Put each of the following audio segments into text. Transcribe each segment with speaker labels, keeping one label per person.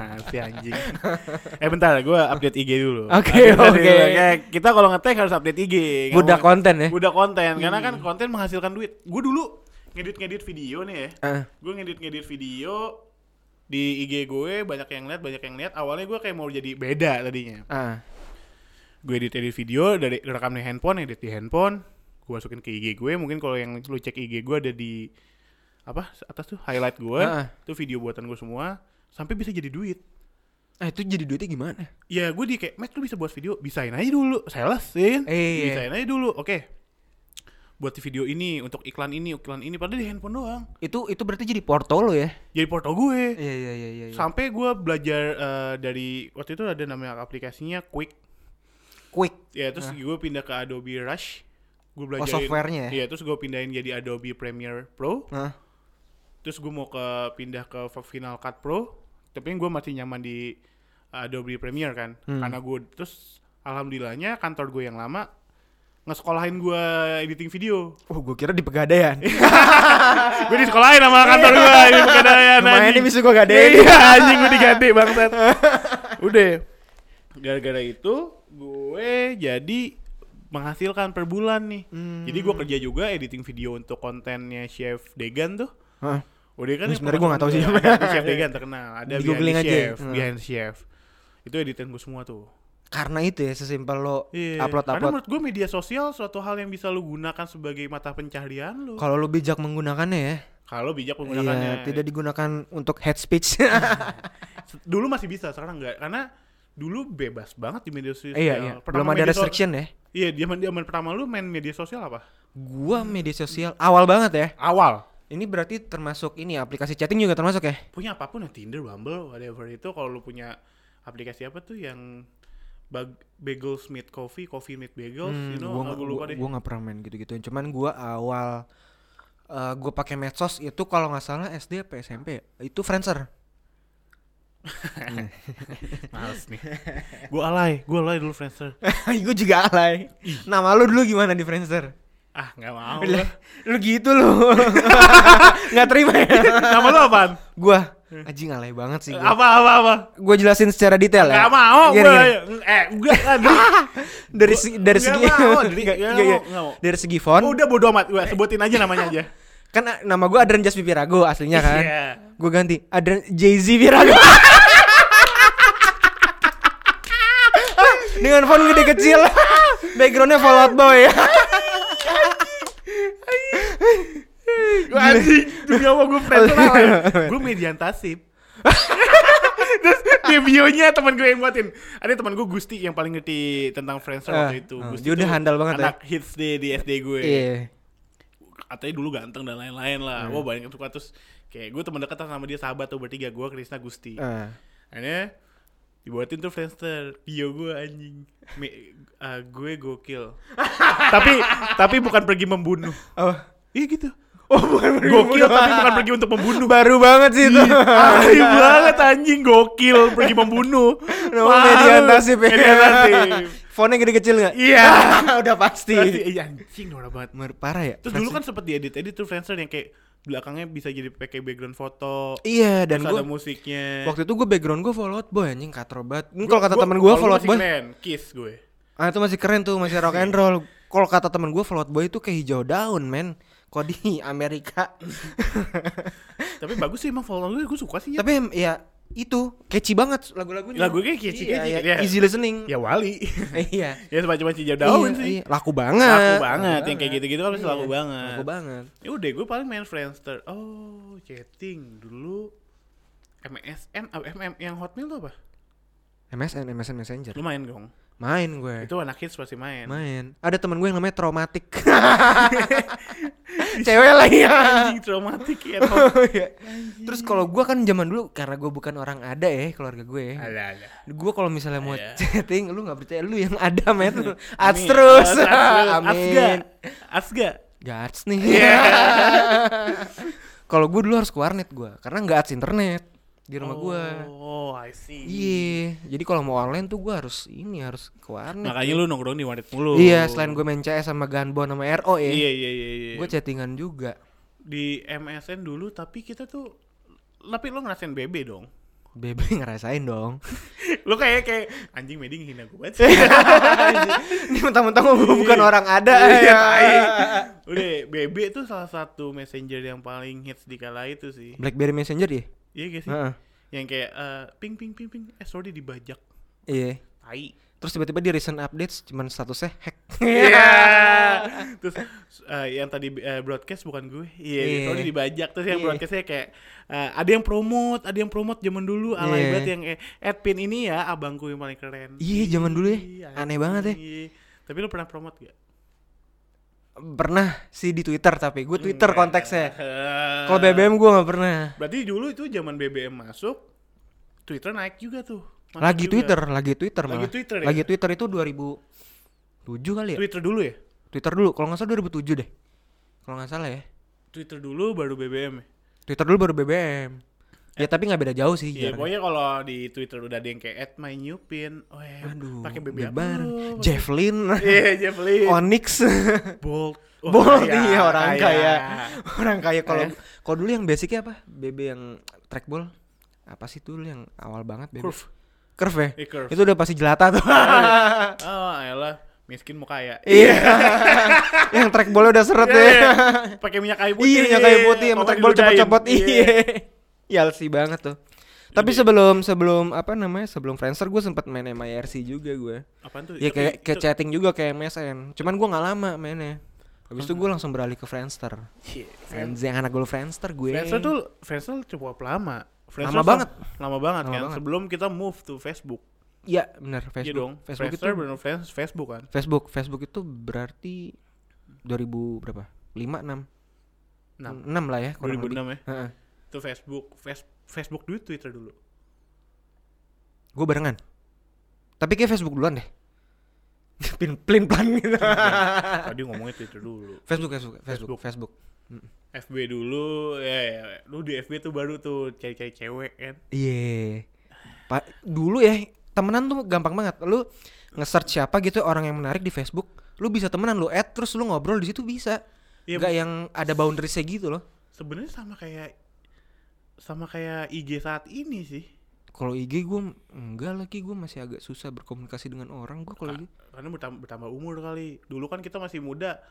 Speaker 1: Mati ya, anjing. Eh bentar, gue update IG dulu. Update
Speaker 2: Oke, oke.
Speaker 1: dulu. ya. Kayak Kita kalau ngetek harus update IG. Nggak
Speaker 2: Budak
Speaker 1: mau-
Speaker 2: konten Hmm. ya?
Speaker 1: Budak konten, karena kan konten menghasilkan duit. Gue dulu ngedit-ngedit video nih ya.
Speaker 2: Eh.
Speaker 1: Gue ngedit-ngedit video di IG gue banyak yang lihat, banyak yang lihat. Awalnya gue kayak mau jadi beda tadinya.
Speaker 2: Ah.
Speaker 1: gue edit edit video dari rekam di handphone edit di handphone gue masukin ke IG gue mungkin kalau yang lu cek IG gue ada di apa atas tuh highlight gue
Speaker 2: Heeh.
Speaker 1: itu video buatan gue semua sampai bisa jadi duit
Speaker 2: Eh, itu jadi duitnya gimana?
Speaker 1: ya gue di kayak Matt lu bisa buat video bisain aja dulu salesin
Speaker 2: Iya.
Speaker 1: bisain aja dulu oke buat video ini untuk iklan ini iklan ini padahal di handphone doang
Speaker 2: Itu itu berarti jadi porto lo ya?
Speaker 1: jadi porto gue
Speaker 2: Iya iya iya iya. iya.
Speaker 1: sampai gue belajar eh, dari waktu itu ada namanya aplikasinya Quick
Speaker 2: Quick.
Speaker 1: Ya terus gue pindah ke Adobe Rush. Gue belajar
Speaker 2: softwarenya ya?
Speaker 1: Iya, terus gue pindahin jadi Adobe Premiere Pro.
Speaker 2: Hah?
Speaker 1: Terus gue mau ke pindah ke Final Cut Pro. Tapi gue masih nyaman di Adobe Premiere kan.
Speaker 2: Hmm.
Speaker 1: Karena gue terus alhamdulillahnya kantor gue yang lama ngesekolahin gue editing video.
Speaker 2: Oh, gue kira di pegadaian.
Speaker 1: gue disekolahin sama kantor gue ini pegadaian
Speaker 2: Lumayan
Speaker 1: anjing.
Speaker 2: nih bisa gue gadein.
Speaker 1: Iya anjing gue diganti bangsat. Udah. Gara-gara itu gue jadi menghasilkan per bulan nih.
Speaker 2: Hmm.
Speaker 1: Jadi gue kerja juga editing video untuk kontennya Chef Degan tuh.
Speaker 2: Hah?
Speaker 1: Udah kan
Speaker 2: Ini
Speaker 1: yang
Speaker 2: sebenarnya gua nggak tahu sih.
Speaker 1: pernah ada tuh Chef Degan terkenal. Ada
Speaker 2: Di
Speaker 1: Behind
Speaker 2: googling
Speaker 1: the
Speaker 2: aja ya.
Speaker 1: Chef,
Speaker 2: Hmm.
Speaker 1: Behind the Chef. Itu editan gue semua tuh.
Speaker 2: Karena itu ya sesimpel lo
Speaker 1: Iya.
Speaker 2: upload
Speaker 1: Karena
Speaker 2: upload.
Speaker 1: menurut gue media sosial suatu hal yang bisa lu gunakan sebagai mata pencaharian lu.
Speaker 2: Kalau lo bijak menggunakannya ya.
Speaker 1: Kalau bijak menggunakannya.
Speaker 2: Iya, tidak digunakan untuk head speech.
Speaker 1: Se- dulu masih bisa sekarang enggak karena dulu bebas banget di media sosial
Speaker 2: iya iya.
Speaker 1: Pertama
Speaker 2: Belum ada
Speaker 1: media so-
Speaker 2: restriction ya.
Speaker 1: iya zaman zaman pertama lu main media sosial apa
Speaker 2: Gua media sosial awal banget ya.
Speaker 1: awal
Speaker 2: Ini berarti termasuk ini ya, aplikasi chatting juga termasuk ya?
Speaker 1: punya apapun ya Tinder Bumble whatever itu kalau lu punya aplikasi apa tuh yang bag bagels meet coffee coffee meet bagels
Speaker 2: Hmm,
Speaker 1: you know
Speaker 2: gua,
Speaker 1: aku
Speaker 2: gua,
Speaker 1: lupa
Speaker 2: gua,
Speaker 1: deh
Speaker 2: gua nggak pernah main gitu-gitu. Cuman gua awal eh gua pakai medsos itu kalau nggak salah SD apa SMP ya? itu Friendster.
Speaker 1: males nih gua alay gua alay dulu Friendster
Speaker 2: gua juga alay. Nama lu dulu gimana di Friendster?
Speaker 1: ah nggak mau
Speaker 2: Lah,
Speaker 1: gua.
Speaker 2: lu gitu lu. nggak terima ya.
Speaker 1: nama lu apaan
Speaker 2: gua anjing alay banget sih gua.
Speaker 1: apa apa apa
Speaker 2: Gua jelasin secara detail ya.
Speaker 1: nggak mau
Speaker 2: Gini,
Speaker 1: gua
Speaker 2: gini.
Speaker 1: eh enggak enggak
Speaker 2: Dari
Speaker 1: Gua-
Speaker 2: segi dari
Speaker 1: nggak
Speaker 2: segi
Speaker 1: mau, dari- nggak
Speaker 2: nggak- nggak-
Speaker 1: mau,
Speaker 2: nggak.
Speaker 1: nggak mau.
Speaker 2: dari segi font
Speaker 1: udah bodo amat gua sebutin aja namanya aja
Speaker 2: kan ah, nama gua Adrian Jas Pipirago aslinya kan.
Speaker 1: Iya.
Speaker 2: Gue ganti Adrian Jay-Z Pirago Dengan font gede kecil Backgroundnya Fallout Boy
Speaker 1: Gua anjing, demi Allah gue friends
Speaker 2: Oh, iya.
Speaker 1: Gue median tasib Terus di bio-nya temen gue yang buatin Ada temen gue Gusti yang paling ngerti tentang friends
Speaker 2: Ah,
Speaker 1: waktu itu
Speaker 2: ah,
Speaker 1: Gusti
Speaker 2: dia udah
Speaker 1: tuh
Speaker 2: handal banget ya.
Speaker 1: Anak hits di, di SD gue
Speaker 2: Iya
Speaker 1: Katanya ya dulu ganteng dan lain-lain lah Wah banyak yang suka terus Kayak gue temen dekat sama dia sahabat tuh bertiga Gue Krisna Gusti
Speaker 2: Ah.
Speaker 1: Akhirnya dibuatin tuh Friendster bio gue anjing Me- ah, Gue gokil Tapi tapi bukan pergi membunuh
Speaker 2: Oh
Speaker 1: Iya gitu
Speaker 2: Oh bukan
Speaker 1: Gokil tapi bukan pergi untuk membunuh
Speaker 2: Baru banget sih
Speaker 1: Iya.
Speaker 2: itu
Speaker 1: Ahli banget anjing gokil pergi membunuh.
Speaker 2: Nama Median Nasib ya
Speaker 1: Median Nasib.
Speaker 2: Fontnya gede kecil gak?
Speaker 1: Iya.
Speaker 2: Udah
Speaker 1: Berarti,
Speaker 2: pasti
Speaker 1: Iya anjing norak banget.
Speaker 2: Mer- Parah ya
Speaker 1: Terus dulu kan sempet diedit edit tuh Friendster yang kayak belakangnya bisa jadi pakai background foto.
Speaker 2: Iya dan
Speaker 1: terus
Speaker 2: gue
Speaker 1: ada musiknya.
Speaker 2: Waktu itu gue background gue Fallout Boy anjing katrobat
Speaker 1: Eh.
Speaker 2: Ini
Speaker 1: Gua-
Speaker 2: kalau kata
Speaker 1: gua-
Speaker 2: temen gue
Speaker 1: kalau gua
Speaker 2: Fallout
Speaker 1: masih
Speaker 2: Boy
Speaker 1: keren, Iya. Kiss gue.
Speaker 2: Ah itu masih keren tuh, masih rock and roll. Kalau kata temen gue, Fallout Boy itu kayak hijau daun, men. Kok di Amerika.
Speaker 1: Tapi bagus sih emang Fallout gue, gue suka sih. Ya.
Speaker 2: Tapi em- ya itu catchy banget lagu-lagunya.
Speaker 1: Lagu gue catchy,
Speaker 2: Iya,
Speaker 1: catchy, iya.
Speaker 2: iya, Easy listening.
Speaker 1: ya wali.
Speaker 2: Iya.
Speaker 1: ya semacam macam jauh
Speaker 2: Iya,
Speaker 1: daun sih.
Speaker 2: iya. Laku banget.
Speaker 1: Laku banget, yang kayak gitu-gitu kan pasti
Speaker 2: Iya,
Speaker 1: laku banget.
Speaker 2: Laku banget.
Speaker 1: Ya udah gue paling main Friendster. Oh, chatting dulu. MSN, apa MM yang Hotmail tuh apa?
Speaker 2: MSN, MSN Messenger.
Speaker 1: Lu main dong.
Speaker 2: Main gue.
Speaker 1: Itu anak hits pasti main.
Speaker 2: Eh. Main. Ada temen gue yang namanya traumatik. Cewek lah ya.
Speaker 1: Anjing traumatik ya.
Speaker 2: Oh, iya. Terus kalau gue kan zaman dulu karena gue bukan orang ada ya keluarga gue. ya.
Speaker 1: Alah, alah.
Speaker 2: Gue kalau misalnya mau
Speaker 1: Iya.
Speaker 2: chatting, lu nggak percaya lu yang ada men. Ads
Speaker 1: Amin.
Speaker 2: terus.
Speaker 1: Ads, ads, Asga.
Speaker 2: Amin.
Speaker 1: Asga.
Speaker 2: Gak ads nih.
Speaker 1: Iya.
Speaker 2: kalau gue dulu harus ke warnet gue, karena nggak ads internet di rumah gue.
Speaker 1: Oh, I see.
Speaker 2: Iya, jadi kalau mau online tuh gue harus ini harus ke warnet.
Speaker 1: Makanya lu nongkrong di warnet mulu.
Speaker 2: Iya, selain gue main CS sama Gunbon sama RO ya,
Speaker 1: Iya, iya, iya, iya.
Speaker 2: gue chattingan juga.
Speaker 1: Di MSN dulu tapi kita tuh tapi lo ngerasain BB dong.
Speaker 2: Bebe ngerasain dong.
Speaker 1: Lu kayak kayak anjing Medi hina gue banget. sih."
Speaker 2: Ini mentang-mentang gue bukan orang ada.
Speaker 1: Iya,
Speaker 2: ya.
Speaker 1: tai. Udah, BB tuh salah satu messenger yang paling hits di kala itu sih.
Speaker 2: Blackberry Messenger ya?
Speaker 1: Iya gak sih?
Speaker 2: Heeh.
Speaker 1: Yang kayak eh, ping ping ping ping eh sorry dibajak.
Speaker 2: Iya.
Speaker 1: Tai.
Speaker 2: Terus tiba-tiba di recent updates cuman statusnya hack.
Speaker 1: Iya. terus eh, yang tadi eh, broadcast bukan gue. Iya,
Speaker 2: Iya.
Speaker 1: sorry dibajak. Terus yang
Speaker 2: Iya.
Speaker 1: broadcastnya kayak eh, ada yang promote, ada yang promote zaman dulu alay
Speaker 2: Iya.
Speaker 1: banget yang eh, Edpin ini ya abangku yang paling keren.
Speaker 2: Iya, zaman dulu ya.
Speaker 1: Iya,
Speaker 2: Aneh banget ya.
Speaker 1: iya. Tapi lu pernah promote gak?
Speaker 2: Pernah sih di Twitter tapi gue
Speaker 1: Iya.
Speaker 2: Twitter konteksnya.
Speaker 1: Eh,
Speaker 2: Kalau BBM gue nggak pernah.
Speaker 1: Berarti dulu itu zaman BBM masuk, Twitter naik juga tuh. Masuk
Speaker 2: Lagi
Speaker 1: juga.
Speaker 2: Twitter, lagi Twitter
Speaker 1: Lagi
Speaker 2: malah.
Speaker 1: Twitter ya?
Speaker 2: Lagi Twitter itu 2007 kali ya?
Speaker 1: Twitter dulu ya?
Speaker 2: Twitter dulu, kalau nggak salah 2007 deh. Kalau nggak salah ya.
Speaker 1: Twitter dulu baru BBM ya?
Speaker 2: Twitter dulu baru BBM. Ya tapi nggak beda jauh sih.
Speaker 1: Iya,
Speaker 2: jarang.
Speaker 1: pokoknya kalau di Twitter udah ada yang kayak add my new pin. Weh,
Speaker 2: Aduh,
Speaker 1: pakai BBM.
Speaker 2: bebar.
Speaker 1: lu.
Speaker 2: Javelin,
Speaker 1: Iya, Jeffley.
Speaker 2: Onyx,
Speaker 1: Bolt. Oh,
Speaker 2: Bolt
Speaker 1: kaya,
Speaker 2: iya orang kaya. Orang kaya kalau
Speaker 1: Kaya.
Speaker 2: kalau dulu yang basicnya apa? BB yang trackball apa sih dulu yang awal banget BB?
Speaker 1: Curve.
Speaker 2: Curve ya?
Speaker 1: Iya, curve.
Speaker 2: Itu udah pasti jelata tuh.
Speaker 1: Oh, ayolah. Miskin mau kaya.
Speaker 2: Iya. yang trackballnya udah seret
Speaker 1: Iya, iya.
Speaker 2: ya.
Speaker 1: Pakai minyak kayu putih.
Speaker 2: Iya, yang kayu putih
Speaker 1: Pokoknya
Speaker 2: yang
Speaker 1: Iya,
Speaker 2: trackball
Speaker 1: diludahin.
Speaker 2: copot-copot. Iya. Yalsi banget tuh. Tapi sebelum sebelum apa namanya? Sebelum Friendster gue sempet main MIRC juga gue.
Speaker 1: Apaan tuh? Iya,
Speaker 2: Ya
Speaker 1: Tapi
Speaker 2: kayak kayak
Speaker 1: itu-
Speaker 2: chatting juga kayak MSN. Cuman gue nggak lama mainnya.
Speaker 1: Hmm.
Speaker 2: Habis itu gue langsung beralih ke Friendster.
Speaker 1: Iya,
Speaker 2: Anjing anak gue Friendster gue.
Speaker 1: Friendster tuh Friendster cukup lama. Friendster
Speaker 2: Lama
Speaker 1: sam-
Speaker 2: banget.
Speaker 1: Lama banget
Speaker 2: Lama
Speaker 1: kan.
Speaker 2: banget.
Speaker 1: Sebelum kita move to Facebook.
Speaker 2: Iya benar Facebook.
Speaker 1: Iya dong.
Speaker 2: Facebook itu
Speaker 1: Friendster benar fans Facebook kan.
Speaker 2: Facebook Facebook itu berarti 2000 berapa? 5 6.
Speaker 1: Enam.
Speaker 2: 6 lah ya kurang
Speaker 1: 2006 ya.
Speaker 2: lebih. Heeh.
Speaker 1: Itu Facebook, Face- Facebook dulu Twitter dulu.
Speaker 2: Gue barengan. Tapi kayak Facebook duluan deh. Plin plin plan gitu.
Speaker 1: Tadi ngomongnya Twitter dulu.
Speaker 2: Facebook Facebook Facebook Facebook.
Speaker 1: FB dulu, ya, ya, ya. lu di FB tuh baru tuh cari-cari cewek kan.
Speaker 2: Iya. Pa- dulu ya temenan tuh gampang banget. Lu nge-search siapa gitu orang yang menarik di Facebook, lu bisa temenan lu add terus lu ngobrol di situ bisa.
Speaker 1: Iya,
Speaker 2: Nggak ya. yang ada boundariesnya gitu loh.
Speaker 1: Sebenarnya sama kayak sama kayak IG saat ini sih.
Speaker 2: Kalau IG gue enggak lagi gue masih agak susah berkomunikasi dengan orang gue kalau IG.
Speaker 1: Karena bertam- bertambah, umur kali. Dulu kan kita masih muda.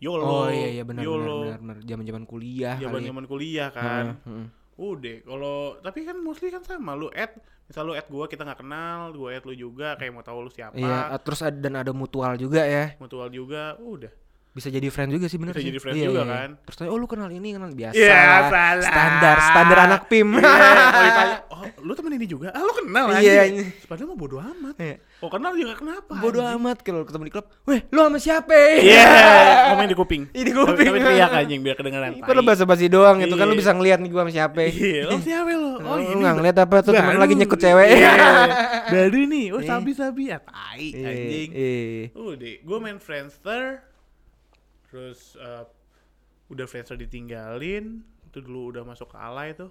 Speaker 1: YOLO.
Speaker 2: Oh iya iya benar benar
Speaker 1: YOLO. Ya,
Speaker 2: benar benar zaman-zaman kuliah kali. ya.
Speaker 1: Zaman-zaman kuliah kan.
Speaker 2: Heeh, heeh.
Speaker 1: Udah, kalau tapi kan mostly kan sama lu add misal lu add gua kita nggak kenal, gua add lu juga kayak mau tahu lu siapa.
Speaker 2: Iya, ah, terus ada, dan ada mutual juga ya.
Speaker 1: Mutual juga, udah.
Speaker 2: Bisa jadi friend juga sih bener
Speaker 1: Bisa
Speaker 2: sih.
Speaker 1: jadi friend juga kan.
Speaker 2: Terus tanya, oh lu kenal ini, kenal biasa.
Speaker 1: Iya,
Speaker 2: lah.
Speaker 1: salah.
Speaker 2: Standar, standar anak PIM.
Speaker 1: Iya, kalau ditanya, oh, lu temen ini juga? Ah, lu kenal
Speaker 2: Iya.
Speaker 1: anjing. Padahal mah bodo amat.
Speaker 2: Iya.
Speaker 1: Oh, kenal juga kenapa?
Speaker 2: Bodoh
Speaker 1: anjing?
Speaker 2: amat kalau ketemu di klub. Weh, lu sama siapa?
Speaker 1: Iya, ngomongin di kuping.
Speaker 2: Ih, di kuping.
Speaker 1: Tapi, tapi teriak anjing biar kedengeran.
Speaker 2: Itu lu basa-basi doang gitu kan lu
Speaker 1: Iya.
Speaker 2: bisa ngeliat nih gua sama siapa.
Speaker 1: Iya, lo siapa lo?
Speaker 2: Oh, lu nggak ngeliat apa tuh temen
Speaker 1: baru.
Speaker 2: lagi nyekut cewek.
Speaker 1: Iya. Baru nih, oh sabi-sabi ya, tai
Speaker 2: Iya,
Speaker 1: anjing.
Speaker 2: iya.
Speaker 1: Udah, gue main Friendster, terus eh, udah Friendster ditinggalin, itu dulu udah masuk ke alay tuh,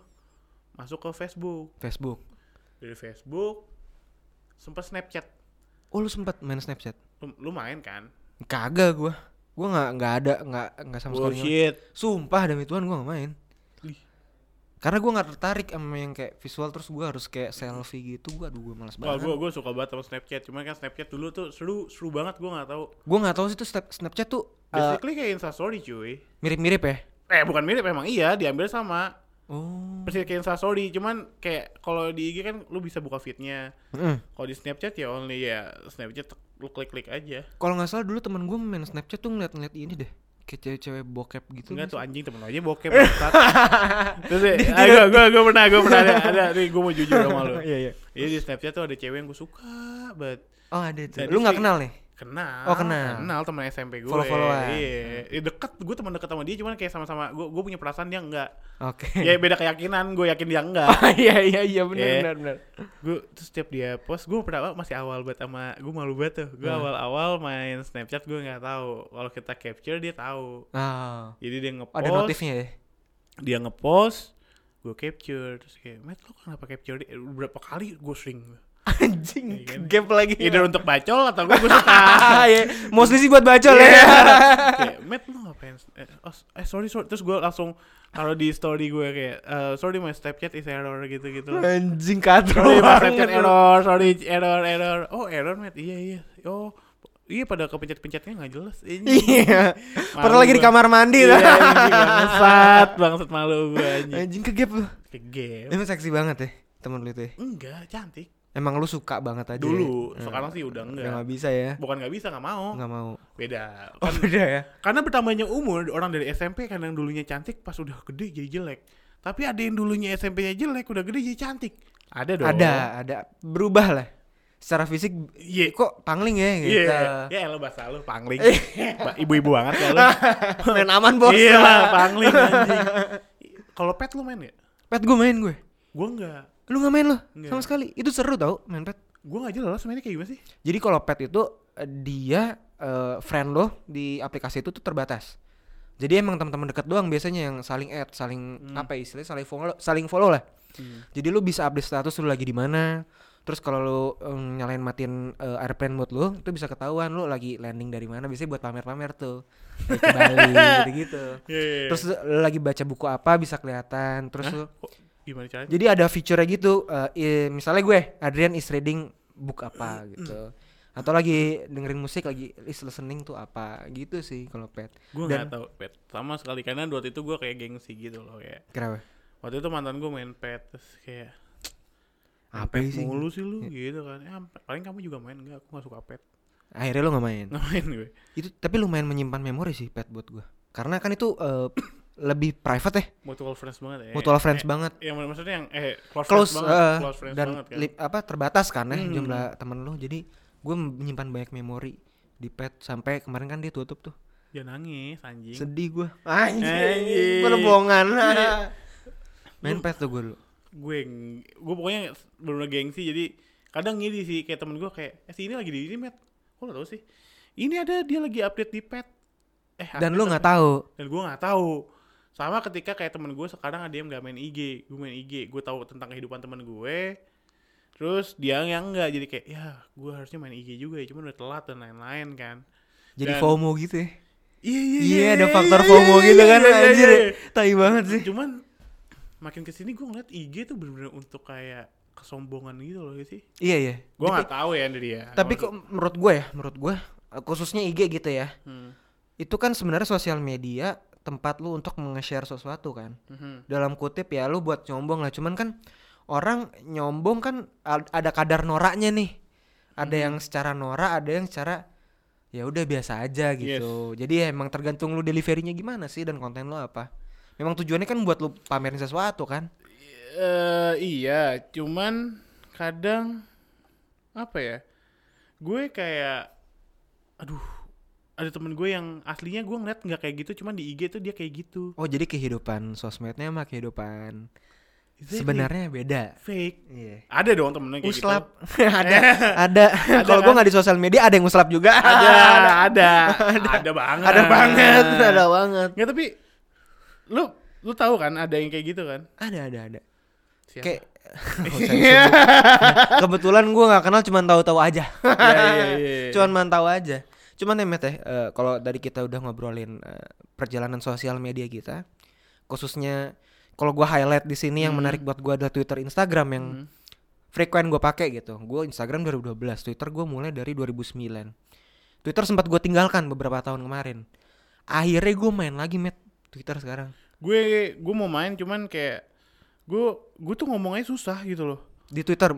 Speaker 1: masuk ke Facebook,
Speaker 2: Facebook.
Speaker 1: dari Facebook, sempat Snapchat,
Speaker 2: Oh, lu sempat main Snapchat?
Speaker 1: lu, lu main kan?
Speaker 2: Kagak gua. Gua nggak nggak ada nggak nggak
Speaker 1: Oh,
Speaker 2: sama sekali. nggak-
Speaker 1: Bullshit.
Speaker 2: Sumpah demi Tuhan gua nggak main.
Speaker 1: Ih.
Speaker 2: Karena gua nggak tertarik sama yang kayak visual terus gua harus kayak selfie gitu. Gua aduh gua malas
Speaker 1: Wah,
Speaker 2: banget.
Speaker 1: gue gue suka banget sama Snapchat, cuman kan Snapchat dulu tuh seru seru banget, gue nggak tahu.
Speaker 2: Gua nggak tahu sih tuh Snap- Snapchat tuh eh,
Speaker 1: Basically kayak Instastory cuy.
Speaker 2: mirip-mirip ya.
Speaker 1: Eh bukan mirip emang iya, diambil sama.
Speaker 2: Oh.
Speaker 1: Persis kayak Instastory, cuman kayak kalau di IG kan lu bisa buka feednya.
Speaker 2: Mm.
Speaker 1: Kalau di Snapchat ya only ya Snapchat tek- lu klik-klik aja.
Speaker 2: Kalau nggak salah dulu teman gue main Snapchat tuh ngeliat-ngeliat ini deh, kayak cewek-cewek bokep gitu.
Speaker 1: Enggak
Speaker 2: nggak
Speaker 1: tuh
Speaker 2: sih?
Speaker 1: anjing temen lu aja bokep bangsat. Terus ya, ah, gua, gua, gua pernah, gua pernah ada, ada nih gua mau jujur sama lu.
Speaker 2: Iya iya.
Speaker 1: Jadi di Snapchat tuh ada cewek yang gua suka banget.
Speaker 2: Oh ada tuh.
Speaker 1: Jadi
Speaker 2: Lu nggak
Speaker 1: sih-
Speaker 2: kenal nih?
Speaker 1: Kenal.
Speaker 2: Oh, kenal.
Speaker 1: Kenal teman SMP gue.
Speaker 2: Follow-followan.
Speaker 1: Iya. Ya, deket, gue teman deket sama dia cuman kayak sama-sama gue gue punya perasaan dia enggak.
Speaker 2: Oke.
Speaker 1: Ya beda keyakinan, gue yakin dia enggak.
Speaker 2: Oh, Iya iya iya
Speaker 1: Iya.
Speaker 2: benar benar benar.
Speaker 1: gue terus setiap dia post gue pertama masih awal banget sama gue malu banget tuh
Speaker 2: Hmm.
Speaker 1: gue awal-awal main Snapchat gue nggak tahu kalau kita capture dia tahu
Speaker 2: Ah.
Speaker 1: jadi dia
Speaker 2: Oh, ada
Speaker 1: ngepost
Speaker 2: notifnya ya.
Speaker 1: dia ngepost gue capture terus kayak Matt lo kenapa capture dia? Eh, berapa kali gue sering
Speaker 2: Anjing, gap lagi.
Speaker 1: Either untuk bacol atau gue, gue suka.
Speaker 2: Ah, ya. Mostly sih buat bacol ya.
Speaker 1: Iya. kayak, Matt lu ngapain? Eh, oh, eh, sorry, sorry. Terus gue langsung taruh di story gue kayak, eh, sorry my Snapchat is error gitu-gitu.
Speaker 2: Anjing katro
Speaker 1: sorry my
Speaker 2: banget.
Speaker 1: Snapchat
Speaker 2: lu.
Speaker 1: error, sorry error, error. Oh error Matt, iya iya. Oh iya pada kepencet-pencetnya nggak jelas. Ini.
Speaker 2: Iya.
Speaker 1: Malu
Speaker 2: Padahal lagi di
Speaker 1: gua.
Speaker 2: kamar mandi
Speaker 1: Iya,
Speaker 2: lah.
Speaker 1: anjing, bangsat, bangsat malu gue anjing.
Speaker 2: Anjing ke gap lu.
Speaker 1: Kegep.
Speaker 2: Emang seksi banget ya temen lu itu ya.
Speaker 1: Enggak, cantik.
Speaker 2: Emang lu suka banget aja.
Speaker 1: Dulu,
Speaker 2: ya?
Speaker 1: sekarang sih udah
Speaker 2: Udah
Speaker 1: enggak.
Speaker 2: gak bisa ya.
Speaker 1: Bukan nggak bisa, nggak mau.
Speaker 2: Gak mau.
Speaker 1: Beda.
Speaker 2: Oh,
Speaker 1: Kan-
Speaker 2: udah ya.
Speaker 1: Karena bertambahnya umur, orang dari SMP kan yang dulunya cantik pas udah gede jadi jelek. Tapi ada yang dulunya SMP-nya jelek, udah gede jadi cantik. Ada dong.
Speaker 2: Ada, ada berubah lah. Secara fisik
Speaker 1: Iya.
Speaker 2: kok pangling ya gitu.
Speaker 1: Iya, ya lo bahasa lo pangling. Ba- Ibu-ibu banget ya lo.
Speaker 2: Main aman bos.
Speaker 1: Iya lah, pangling anjing. Kalau pet lo main ya?
Speaker 2: Pet gue main gue.
Speaker 1: Gue enggak.
Speaker 2: Lu gak main lu
Speaker 1: Nggak.
Speaker 2: sama sekali. Itu seru tau main pet.
Speaker 1: Gue enggak jelas mainnya kayak gimana sih?
Speaker 2: Jadi kalau pet itu eh, dia eh, friend lo di aplikasi itu tuh terbatas. Jadi emang teman-teman dekat doang biasanya yang saling add, saling apa ya istilahnya saling follow, saling follow lah. Jadi lu bisa update status lu lagi di mana. Terus kalau lu em, nyalain matiin eh, airplane mode lu, itu bisa ketahuan lu lagi landing dari mana. Biasanya buat pamer-pamer tuh. Kayak ke Bali gitu-gitu.
Speaker 1: Iya, iya, iya.
Speaker 2: Terus lu lagi baca buku apa bisa kelihatan. Terus lu
Speaker 1: Kok gimana caranya?
Speaker 2: jadi ada fiturnya gitu, eh, i- misalnya gue, Adrian is reading book apa gitu. Atau lagi dengerin musik, lagi is listening tuh apa gitu sih kalau pet.
Speaker 1: Gue
Speaker 2: Dan-
Speaker 1: enggak tahu pet. Sama sekali karena waktu itu gue kayak gengsi gitu loh kayak.
Speaker 2: Kenapa?
Speaker 1: Waktu itu mantan gue main pet terus kayak "Main
Speaker 2: Apa
Speaker 1: pet
Speaker 2: sih? Iya.
Speaker 1: mulu sih lu gitu kan. Ya, paling kamu juga main enggak? Aku gak suka pet.
Speaker 2: Akhirnya lo gak main.
Speaker 1: Nggak main gue.
Speaker 2: Itu tapi lumayan menyimpan memori sih pet buat gue. Karena kan itu eh, lebih private ya,
Speaker 1: Mutual friends banget ya.
Speaker 2: mutual
Speaker 1: eh,
Speaker 2: friends banget.
Speaker 1: Yang mak- maksudnya yang eh close,
Speaker 2: Close,
Speaker 1: friends banget,
Speaker 2: eh,
Speaker 1: close friends
Speaker 2: dan
Speaker 1: banget kan.
Speaker 2: lip- apa terbatas kan ya
Speaker 1: Hmm.
Speaker 2: jumlah temen lo. Jadi gue menyimpan banyak memori di pet sampai kemarin kan dia tutup tuh.
Speaker 1: Jangan Ya, nangis anjing.
Speaker 2: Sedih gue.
Speaker 1: Anjing.
Speaker 2: Berbohongan. Main pet tuh gue dulu.
Speaker 1: gue ng- gue pokoknya bener-bener gengsi jadi kadang ngiri sih kayak temen gue kayak eh si ini lagi di ini met kok lo tau sih ini ada dia lagi update di pet eh update
Speaker 2: Dan lu nggak tahu.
Speaker 1: dan gue nggak tahu sama ketika kayak temen gue sekarang ada yang nggak main IG gue main IG gue tahu tentang kehidupan temen gue terus dia yang nggak jadi kayak ya gue harusnya main IG juga ya cuman udah telat dan lain-lain kan Dan-
Speaker 2: Jadi FOMO gitu ya.
Speaker 1: iya
Speaker 2: Iya, ada faktor FOMO gitu kan anjir. Tai banget sih.
Speaker 1: cuman makin kesini gue ngeliat IG tuh bener-bener untuk kayak kesombongan gitu loh ya sih
Speaker 2: Iya, iya.
Speaker 1: gue nggak tahu ya dari dia
Speaker 2: Tapi kok menurut gue ya, menurut gue eh, khususnya IG gitu ya.
Speaker 1: Hmm.
Speaker 2: Itu kan sebenarnya sosial media tempat lu untuk nge-share sesuatu kan.
Speaker 1: Mhm.
Speaker 2: Dalam kutip ya lu buat nyombong lah, cuman kan orang nyombong kan ad- ada kadar noraknya nih. Ada yang secara norak, ada yang secara ya udah biasa aja gitu. Jadi ya emang tergantung lu deliverynya gimana sih dan konten lu apa. Memang tujuannya kan buat lu pamerin sesuatu kan.
Speaker 1: Eh, iya cuman kadang apa ya gue kayak aduh ada temen gue yang aslinya gue ngeliat nggak kayak gitu cuman di IG tuh dia kayak gitu
Speaker 2: Oh jadi kehidupan sosmednya sama kehidupan
Speaker 1: Exactly.
Speaker 2: sebenarnya beda.
Speaker 1: fake
Speaker 2: Iya.
Speaker 1: ada dong temennya kayak
Speaker 2: Uslap
Speaker 1: gitu
Speaker 2: ada ada. Kalau gue nggak di sosial media ada yang uslap juga.
Speaker 1: ada ada ada ada banget
Speaker 2: ada banget ada banget.
Speaker 1: nggak tapi lu lu tahu kan ada yang kayak gitu kan
Speaker 2: Ada ada ada.
Speaker 1: Siapa?
Speaker 2: Kayak Nggak usah disebut. kebetulan gue nggak kenal cuman tahu-tahu aja.
Speaker 1: Iya, iya, iya, iya.
Speaker 2: cuman mantau aja. Cuman ya Matt ya, eh, kalau dari kita udah ngobrolin eh, perjalanan sosial media kita, khususnya kalau gue highlight di sini yang menarik buat gue adalah Twitter, Instagram yang frequent gue pakai gitu. Gue Instagram 2012, Twitter gue mulai dari 2009. Twitter sempat gue tinggalkan beberapa tahun kemarin. Akhirnya gue main lagi Matt Twitter sekarang.
Speaker 1: gue gue mau main cuman kayak gue gue tuh ngomongnya susah gitu loh
Speaker 2: Di Twitter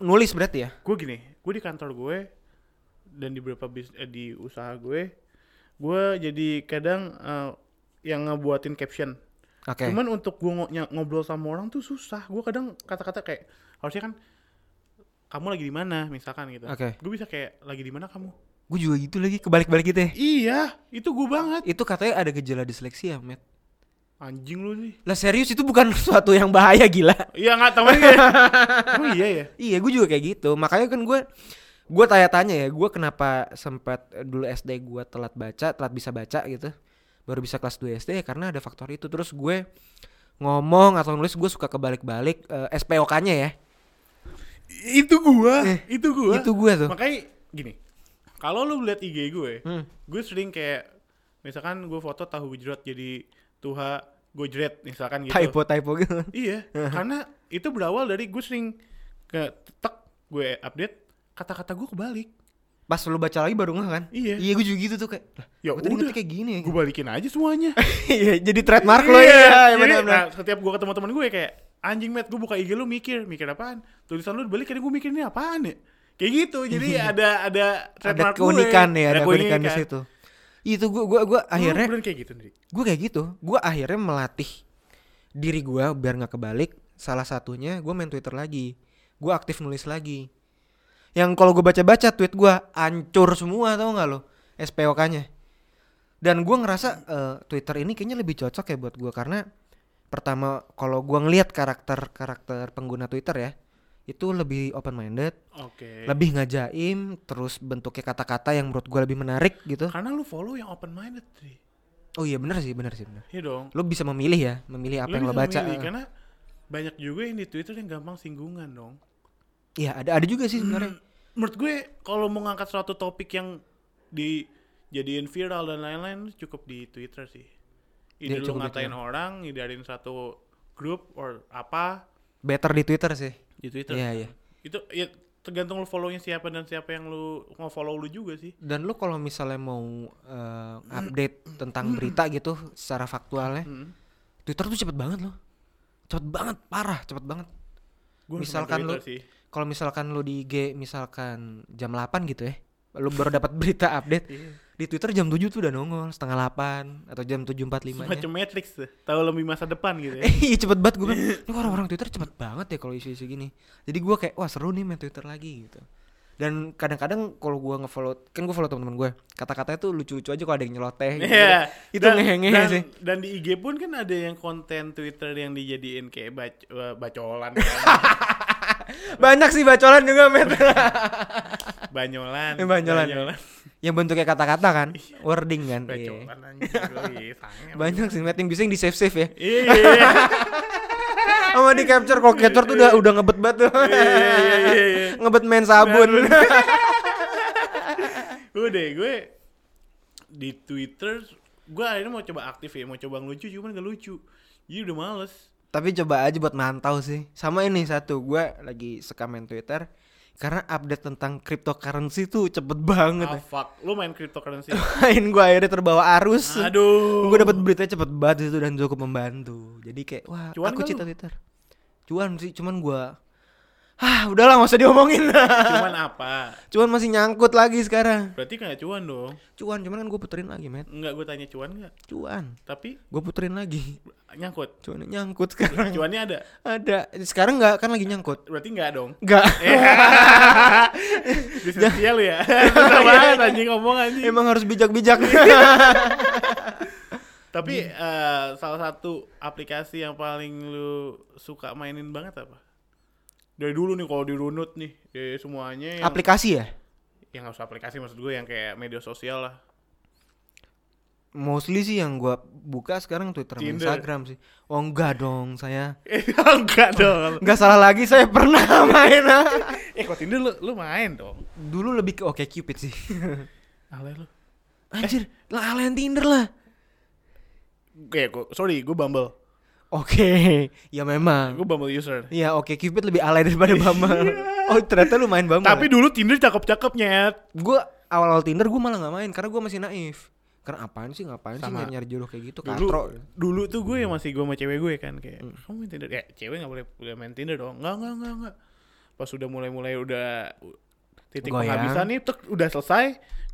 Speaker 2: nulis berarti ya?
Speaker 1: gue gini gue di kantor gue dan di beberapa bis eh, di usaha gue gue jadi kadang eh, yang ngebuatin caption
Speaker 2: Oke.
Speaker 1: cuman untuk gue ngo- nya- ngobrol sama orang tuh susah gue kadang kata-kata kayak harusnya kan kamu lagi di mana misalkan gitu
Speaker 2: Oke.
Speaker 1: gue bisa kayak lagi di mana kamu
Speaker 2: Gue juga gitu lagi kebalik-balik gitu ya.
Speaker 1: iya itu gue banget
Speaker 2: Itu katanya ada gejala disleksia, Matt.
Speaker 1: anjing lu nih
Speaker 2: Lah serius itu bukan sesuatu yang bahaya gila.
Speaker 1: iya nggak tahu emang iya ya
Speaker 2: Iya, gue juga kayak gitu. Makanya kan gue gue tanya-tanya ya, gue kenapa sempat eh, dulu SD gue telat baca, telat bisa baca gitu. Baru bisa kelas 2 SD ya karena ada faktor itu. Terus gue ngomong atau nulis gue suka kebalik-balik eh, SPOK-nya ya.
Speaker 1: itu gua
Speaker 2: Eh,
Speaker 1: itu gua
Speaker 2: itu gue tuh
Speaker 1: makanya gini kalau lu lihat IG gue
Speaker 2: Hmm.
Speaker 1: gue sering kayak misalkan gue foto tahu gejrot jadi tuha gojret misalkan gitu
Speaker 2: typo typo gitu
Speaker 1: iya karena itu berawal dari gue sering ke tek gue update kata-kata gue kebalik
Speaker 2: pas lu baca lagi baru ngeh kan
Speaker 1: Iya.
Speaker 2: iya gue juga gitu tuh kayak lah,
Speaker 1: Ya
Speaker 2: gua tadi
Speaker 1: udah.
Speaker 2: ngetik kayak gini ya
Speaker 1: gue balikin aja semuanya
Speaker 2: iya jadi trademark lo
Speaker 1: Iya,
Speaker 2: iya
Speaker 1: jadi,
Speaker 2: benar-benar
Speaker 1: nah, setiap gue ketemu teman gue kayak anjing met gue buka IG lu mikir mikir apaan tulisan lu dibalik kadang gue mikir ini apaan ya kayak gitu jadi ada ada
Speaker 2: ada
Speaker 1: trademark gue.
Speaker 2: keunikan ya ada keunikan di situ itu gue gue gue
Speaker 1: Lu
Speaker 2: akhirnya
Speaker 1: beneran kayak gitu nih
Speaker 2: gue kayak gitu gue akhirnya melatih diri gue biar nggak kebalik salah satunya gue main twitter lagi gue aktif nulis lagi yang kalau gue baca-baca tweet gue ancur semua tau nggak lo SPOK-nya dan gue ngerasa eh, Twitter ini kayaknya lebih cocok ya buat gue karena pertama kalau gue ngelihat karakter karakter pengguna Twitter ya itu lebih open minded
Speaker 1: oke
Speaker 2: lebih ngajaim terus bentuknya kata-kata yang menurut gue lebih menarik gitu
Speaker 1: karena lu follow yang open minded sih
Speaker 2: oh iya bener sih bener sih bener
Speaker 1: Iya dong
Speaker 2: lo bisa memilih ya memilih
Speaker 1: Lu
Speaker 2: apa yang lo
Speaker 1: bisa
Speaker 2: baca
Speaker 1: memilih, kan? karena banyak juga yang di Twitter yang gampang singgungan dong
Speaker 2: iya ada ada juga sih
Speaker 1: Hmm.
Speaker 2: sebenarnya
Speaker 1: menurut gue kalau mau ngangkat suatu topik yang dijadiin viral dan lain-lain cukup di Twitter sih. Ide
Speaker 2: Iya,
Speaker 1: lu
Speaker 2: cukup di
Speaker 1: ngatain orang, ideain satu grup or apa
Speaker 2: better di twitter sih
Speaker 1: di Twitter.
Speaker 2: iya iya
Speaker 1: Itu ya tergantung lu follow-nya siapa dan siapa yang lu mau follow lu juga sih.
Speaker 2: dan lo kalau misalnya mau eh, update tentang berita gitu secara faktualnya
Speaker 1: Hmm.
Speaker 2: twitter tuh cepet banget lo cepet banget parah cepet banget
Speaker 1: Gue
Speaker 2: Misalkan lu-
Speaker 1: sih.
Speaker 2: kalau misalkan lo di IG misalkan jam 8 gitu ya lo baru dapat berita update
Speaker 1: Iya.
Speaker 2: di twitter jam 7 tuh udah nongol setengah 8 atau jam 7.45 nya
Speaker 1: Macam Matrix tuh, tahu lebih masa depan gitu ya.
Speaker 2: Eh, iya cepet banget gue bilang, "Ini orang-orang Twitter cepet banget ya kalau isu-isu gini. Jadi gue kayak, wah seru nih main Twitter lagi gitu. Dan kadang-kadang kalau gue ngefollow, kan gue follow teman-teman gue, kata-katanya tuh lucu-lucu aja kalau ada yang nyeloteh. Gitu.
Speaker 1: Iya.
Speaker 2: Itu
Speaker 1: Dan-
Speaker 2: ngehe-ngehe
Speaker 1: dan-
Speaker 2: sih.
Speaker 1: Dan di IG pun kan ada yang konten Twitter yang dijadiin kayak bac- eh, bacolan,
Speaker 2: Banyak sih bacolan juga men.
Speaker 1: banyolan,
Speaker 2: Eh, banyolan. yang bentuknya kata-kata kan, wording kan. Iya.
Speaker 1: Bacolan anjing.
Speaker 2: Banyak sih Matt yang biasanya yang di save-save ya.
Speaker 1: Iya. iya,
Speaker 2: Sama di capture, kalau capture tuh udah udah ngebet banget tuh.
Speaker 1: iya, iya, iya.
Speaker 2: ngebet main sabun.
Speaker 1: Udah gue di Twitter gue akhirnya mau coba aktif ya, mau coba ngelucu cuman gak lucu. Jadi udah males.
Speaker 2: Tapi coba aja buat mantau sih. Sama ini satu, gue lagi suka main Twitter karena update tentang cryptocurrency tuh cepet
Speaker 1: Ah,
Speaker 2: banget.
Speaker 1: fuck. Lu main cryptocurrency.
Speaker 2: Main gue akhirnya terbawa arus.
Speaker 1: Aduh.
Speaker 2: Gue dapet berita cepet banget itu dan cukup membantu. Jadi kayak wah,
Speaker 1: Cuan
Speaker 2: aku
Speaker 1: nggak
Speaker 2: cinta
Speaker 1: lu?
Speaker 2: Twitter. Cuan sih, cuman "Ah, gue Hah, udahlah gak usah diomongin.
Speaker 1: Cuman apa?
Speaker 2: cuman masih nyangkut lagi sekarang.
Speaker 1: Berarti kayak cuan dong.
Speaker 2: Cuan, cuman kan gue puterin lagi, men.
Speaker 1: Enggak gue tanya cuan enggak?
Speaker 2: Cuan.
Speaker 1: Tapi
Speaker 2: Gue puterin lagi.
Speaker 1: nyangkut.
Speaker 2: Cuman nyangkut sekarang.
Speaker 1: Cuannya ada.
Speaker 2: Ada. Sekarang nggak kan lagi nyangkut.
Speaker 1: Berarti enggak dong.
Speaker 2: Enggak.
Speaker 1: Iya. Di sosial ya. Susah banget anjing ngomong anjing.
Speaker 2: Emang harus bijak-bijak.
Speaker 1: Iya. Tapi eh, salah satu aplikasi yang paling lu suka mainin banget apa? Dari dulu nih kalau dirunut nih, dari semuanya yang
Speaker 2: Aplikasi ya?
Speaker 1: yang nggak usah aplikasi maksud gue yang kayak media sosial lah.
Speaker 2: Mostly sih yang gua buka sekarang Twitter sama
Speaker 1: Tinder.
Speaker 2: Instagram sih. Oh enggak dong saya.
Speaker 1: Eh, enggak dong.
Speaker 2: Enggak salah lagi saya pernah main. ah.
Speaker 1: Eh, kok Tinder lu, lu main dong.
Speaker 2: Dulu lebih ke Oke Cupid sih.
Speaker 1: Eh. Alay lu.
Speaker 2: Anjir, lah alien Tinder lah.
Speaker 1: Kayak gue, sorry, gue Bumble.
Speaker 2: Oke, ya memang.
Speaker 1: Gue Bumble user.
Speaker 2: Iya, Oke Cupid lebih alay daripada Bumble. Oh, ternyata lu main Bumble.
Speaker 1: Iya. Tapi dulu Tinder cakep-cakep nyet.
Speaker 2: gua awal-awal Tinder gua malah nggak main karena gua masih naif. Karena apaan sih ngapain sih
Speaker 1: Sama.
Speaker 2: nyari-nyari jodoh kayak gitu
Speaker 1: Dulu,
Speaker 2: katro.
Speaker 1: dulu tuh gue yang masih gue sama cewek gue kan kayak
Speaker 2: Hmm.
Speaker 1: kamu main Tinder ya cewek nggak boleh boleh main Tinder dong nggak nggak nggak nggak pas udah mulai mulai udah u- titik
Speaker 2: Goyang.
Speaker 1: penghabisan nih tek, udah selesai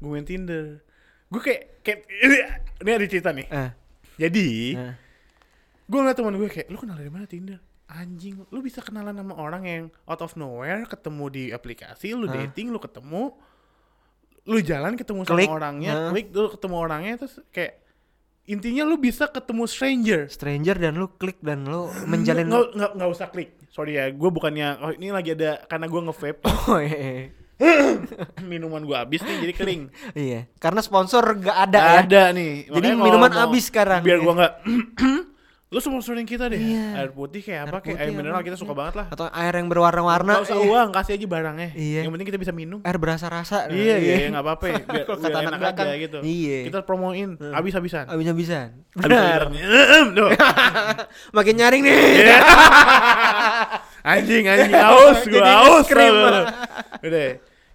Speaker 1: gue main Tinder gue kayak kayak ini, ini ada cerita nih
Speaker 2: Eh,
Speaker 1: jadi
Speaker 2: eh.
Speaker 1: gue ngeliat teman gue kayak lu kenal dari mana Tinder anjing lu bisa kenalan sama orang yang out of nowhere ketemu di aplikasi lu
Speaker 2: Hah?
Speaker 1: dating lu ketemu lu jalan ketemu sama
Speaker 2: Klik,
Speaker 1: orangnya
Speaker 2: hah?
Speaker 1: klik lu ketemu orangnya terus kayak intinya lu bisa ketemu stranger
Speaker 2: Stranger dan lu klik dan lu menjalin
Speaker 1: nggak nggak nggak usah klik sorry ya gue bukannya oh ini lagi ada karena gue ngevape
Speaker 2: Oh, iya, iya.
Speaker 1: minuman gue habis nih jadi kering
Speaker 2: Iya, karena sponsor gak ada
Speaker 1: ada,
Speaker 2: ya.
Speaker 1: nih
Speaker 2: Jadi
Speaker 1: Makanya kalau
Speaker 2: minuman
Speaker 1: mau-
Speaker 2: habis sekarang. ya?
Speaker 1: biar gue nggak Lu sponsorin kita deh.
Speaker 2: Iya.
Speaker 1: Air putih kayak apa
Speaker 2: Air
Speaker 1: kayak
Speaker 2: putih
Speaker 1: air mineral
Speaker 2: apa,
Speaker 1: kita suka
Speaker 2: iya.
Speaker 1: banget lah.
Speaker 2: atau air yang berwarna-warna
Speaker 1: Nggak usah
Speaker 2: iya.
Speaker 1: uang, kasih aja barangnya.
Speaker 2: Iya.
Speaker 1: Yang penting kita bisa minum.
Speaker 2: air berasa rasa
Speaker 1: Iya, iya, nggak apa-apa. ya. Biar,
Speaker 2: Kalau
Speaker 1: biar
Speaker 2: kata anak
Speaker 1: enak aja
Speaker 2: belakang,
Speaker 1: gitu.
Speaker 2: iya.
Speaker 1: Kita promoin habis-habisan.
Speaker 2: abisnya bisa
Speaker 1: Habis-habisan.
Speaker 2: benar
Speaker 1: Tuh.
Speaker 2: makin nyaring nih
Speaker 1: Iya. anjing, anjing aus, gue
Speaker 2: Jadi
Speaker 1: aus.
Speaker 2: nge-scream.
Speaker 1: tau. Udah,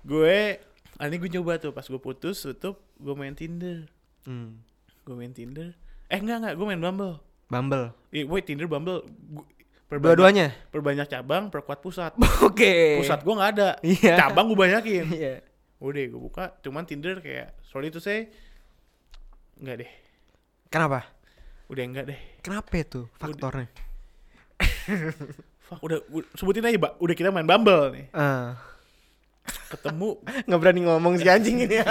Speaker 1: gue ah, ini gue nyoba tuh pas gue putus tutup gue main Tinder.
Speaker 2: Hmm,
Speaker 1: Gue main Tinder. Eh enggak enggak, gue main Bumble.
Speaker 2: Bumble
Speaker 1: Eh, gue Tinder Bumble gua- perbanyak-
Speaker 2: dua-duanya
Speaker 1: perbanyak cabang, perkuat pusat.
Speaker 2: oke
Speaker 1: Pusat gue nggak ada.
Speaker 2: Iya.
Speaker 1: Cabang gue banyakin.
Speaker 2: iya
Speaker 1: Udah gue buka, cuman Tinder kayak sorry to say enggak deh.
Speaker 2: kenapa
Speaker 1: Udah enggak deh.
Speaker 2: kenapa itu faktornya
Speaker 1: Fuck, udah u- sebutin aja, Mbak. Udah kita main Bumble nih.
Speaker 2: Ah,
Speaker 1: Ketemu
Speaker 2: nggak berani ngomong si anjing ini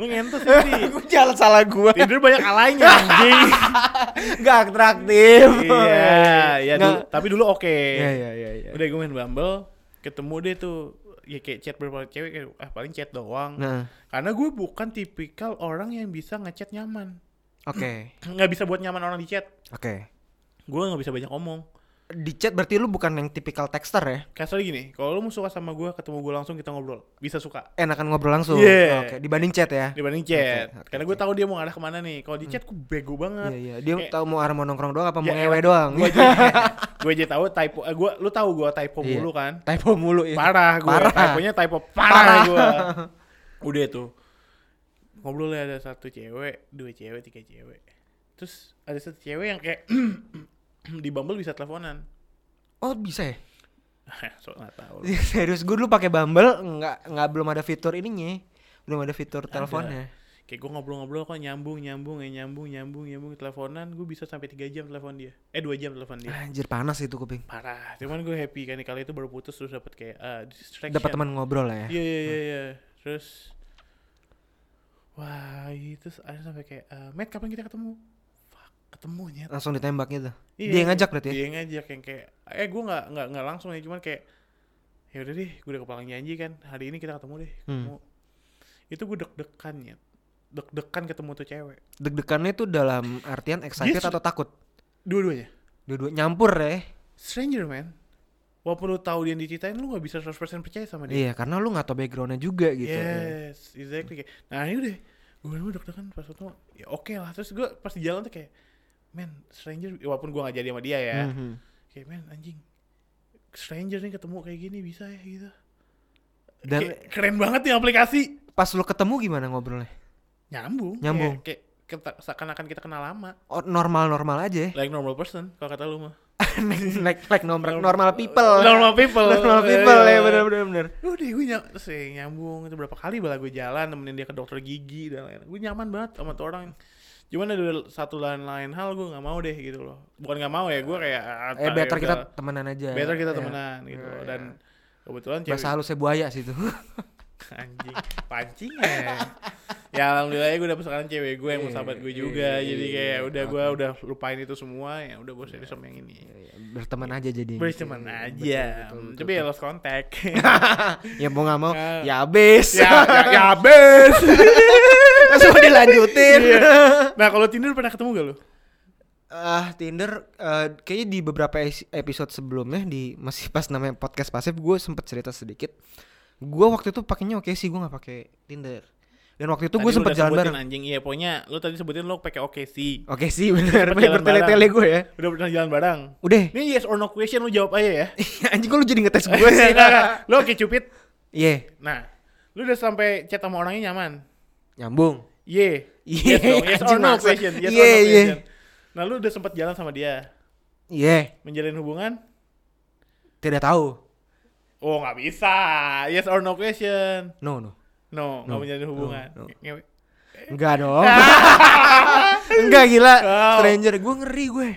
Speaker 1: lu ngentot sih.
Speaker 2: gue jalan salah gue
Speaker 1: Tinder banyak alainya anjing.
Speaker 2: nggak atraktif
Speaker 1: iya, iya
Speaker 2: Nggak.
Speaker 1: dulu- tapi dulu oke.
Speaker 2: iya iya iya iya.
Speaker 1: Udah gue main Bumble, ketemu deh tuh ya kayak chat berapa cewek kayak ah paling chat doang.
Speaker 2: nah
Speaker 1: Karena gue bukan tipikal orang yang bisa ngechat nyaman.
Speaker 2: oke
Speaker 1: Nggak bisa buat nyaman orang di chat.
Speaker 2: oke
Speaker 1: Gue nggak bisa banyak ngomong.
Speaker 2: di chat berarti lu bukan yang tipikal texter ya
Speaker 1: Kayak soalnya gini, kalau lu mau suka sama gue, ketemu gue langsung kita ngobrol, bisa suka
Speaker 2: enakan ngobrol langsung
Speaker 1: Iya.
Speaker 2: oke dibanding chat ya
Speaker 1: dibanding chat.
Speaker 2: Oke, oke,
Speaker 1: Karena gue tahu dia mau arah kemana nih. Kalau di chat gue bego banget.
Speaker 2: Iya iya, dia
Speaker 1: Kayak-
Speaker 2: tahu mau arah mau nongkrong doang apa mau
Speaker 1: Ya,
Speaker 2: ngewe doang.
Speaker 1: gue aja gue aja tahu typo eh, gua lu tahu gue typo
Speaker 2: Iya.
Speaker 1: mulu kan
Speaker 2: Typo mulu iya. itu.
Speaker 1: parah Eh, gue
Speaker 2: Parah.
Speaker 1: typonya typo parah, gua udah tuh ngobrolnya ada satu cewek dua cewek tiga cewek terus ada satu cewek yang kayak di Bumble bisa teleponan
Speaker 2: Oh, bisa ya?
Speaker 1: so nggak tahu
Speaker 2: Serius gue dulu pakai Bumble nggak nggak belum ada fitur ininya. Belum ada fitur teleponnya.
Speaker 1: kayak gue ngobrol-ngobrol kok nyambung nyambung eh, nyambung nyambung nyambung teleponan gue bisa sampai tiga jam telepon dia eh dua jam telepon dia
Speaker 2: Anjir panas itu kuping.
Speaker 1: parah cuman gue happy kan kali itu baru putus terus dapat kayak eh, distraction
Speaker 2: Dapat teman ngobrol lah ya.
Speaker 1: Iya iya iya iya. Terus wah itu ada sampai kayak eh Matt kapan kita ketemu? Fuck, ketemu nyet.
Speaker 2: Langsung ditembak gitu.
Speaker 1: Iya,
Speaker 2: dia yang ngajak berarti ya?
Speaker 1: Dia yang ngajak yang kayak eh gue nggak nggak nggak langsung ya cuman kayak ya udah deh gue udah kepala janji kan hari ini kita ketemu deh
Speaker 2: Hmm.
Speaker 1: ketemu. Itu gue deg-degan nyet deg-degan ketemu tuh cewek
Speaker 2: Deg-degannya itu dalam artian excited
Speaker 1: su-
Speaker 2: atau takut?
Speaker 1: dua-duanya
Speaker 2: Dua-dua nyampur ya.
Speaker 1: stranger man walaupun lu tahu dia yang diceritain lu nggak bisa 100% percaya sama dia
Speaker 2: Iya, karena lu nggak tahu backgroundnya juga gitu.
Speaker 1: Yes, exactly. Kayak, Nah ini udah, gue dulu deg-degan pas ketemu, ya oke lah. Terus gue pas di jalan tuh kayak, man, stranger, ya walaupun gue gak jadi sama dia ya,
Speaker 2: Mhm.
Speaker 1: kayak man, anjing, stranger nih ketemu kayak gini bisa ya gitu.
Speaker 2: Dan
Speaker 1: Kayak keren banget nih aplikasi.
Speaker 2: pas lu ketemu gimana ngobrolnya?
Speaker 1: Nyambung.
Speaker 2: Nyambung.
Speaker 1: Kayak, kayak kita- seakan-akan kita kenal lama.
Speaker 2: Oh, normal-normal aja ya.
Speaker 1: Like normal person, kalau kata lu mah.
Speaker 2: like like normal normal people.
Speaker 1: Normal people.
Speaker 2: Normal people ya
Speaker 1: Iya.
Speaker 2: benar benar benar.
Speaker 1: Udah gue nyam, terus ya nyambung itu berapa kali bala gue jalan temenin dia ke dokter gigi dan lain-lain. Gue nyaman banget sama tuh orang. Cuman ada satu lain lain hal gue nggak mau deh gitu loh. Bukan nggak mau ya gue kayak ah,
Speaker 2: Eh
Speaker 1: tai,
Speaker 2: better kita
Speaker 1: udah.
Speaker 2: temenan aja.
Speaker 1: better kita
Speaker 2: Ya.
Speaker 1: temenan gitu
Speaker 2: Iya,
Speaker 1: loh.
Speaker 2: iya.
Speaker 1: Dan kebetulan cewek
Speaker 2: Bahasa halusnya buaya sih itu.
Speaker 1: anjing pancing ya. ya alhamdulillah ya gue dapet sekarang cewek gue yang
Speaker 2: Iya,
Speaker 1: mau sahabat gue
Speaker 2: iya,
Speaker 1: juga.
Speaker 2: iya,
Speaker 1: Jadi
Speaker 2: iya,
Speaker 1: kayak
Speaker 2: iya.
Speaker 1: udah gue udah lupain itu semua ya udah gue serius sama yang ini.
Speaker 2: Berteman aja
Speaker 1: Iya,
Speaker 2: jadinya.
Speaker 1: Berteman
Speaker 2: Iya,
Speaker 1: aja.
Speaker 2: betul, betul, betul,
Speaker 1: Tapi ya lost contact.
Speaker 2: betul. ya mau nggak mau
Speaker 1: Ya.
Speaker 2: ya abis.
Speaker 1: ya, ya, ya abis.
Speaker 2: Terus mau dilanjutin.
Speaker 1: Iya. Nah kalau Tinder pernah ketemu gak lu?
Speaker 2: Ah Tinder eh, kayaknya di beberapa es- episode sebelumnya di masih pas namanya podcast pasif gue sempet cerita sedikit. Gue waktu itu pakainya oke sih gue nggak pakai Tinder. Dan waktu itu
Speaker 1: Tadi
Speaker 2: gue
Speaker 1: lu
Speaker 2: sempet
Speaker 1: udah
Speaker 2: jalan
Speaker 1: sebutin,
Speaker 2: bareng.
Speaker 1: Anjing iya pokoknya lu tadi sebutin lu pakai oke sih.
Speaker 2: Oke sih bener,
Speaker 1: Sempet
Speaker 2: bener
Speaker 1: jalan
Speaker 2: bertele-tele gue ya.
Speaker 1: Udah pernah jalan bareng.
Speaker 2: Udah.
Speaker 1: Ini yes or no question lu jawab aja ya.
Speaker 2: Anjing kok lu jadi ngetes gue sih.
Speaker 1: Nah, nah, lu oke cupid.
Speaker 2: Iya,
Speaker 1: Nah, lu udah sampai chat sama orangnya nyaman.
Speaker 2: nyambung.
Speaker 1: Ye.
Speaker 2: Iya,
Speaker 1: Yes, no, yes or
Speaker 2: anjing
Speaker 1: no
Speaker 2: maksa.
Speaker 1: question. Yes or
Speaker 2: Iya,
Speaker 1: no
Speaker 2: iya.
Speaker 1: question. Nah, lu udah sempat jalan sama dia,
Speaker 2: Iya,
Speaker 1: menjalin hubungan?
Speaker 2: tidak tahu.
Speaker 1: Oh, nggak bisa. Yes or no question.
Speaker 2: No, no.
Speaker 1: No, nggak
Speaker 2: No,
Speaker 1: menjalin
Speaker 2: no,
Speaker 1: hubungan.
Speaker 2: no.
Speaker 1: Ngewe.
Speaker 2: Enggak dong. Enggak gila.
Speaker 1: Wow.
Speaker 2: Stranger gue ngeri gue.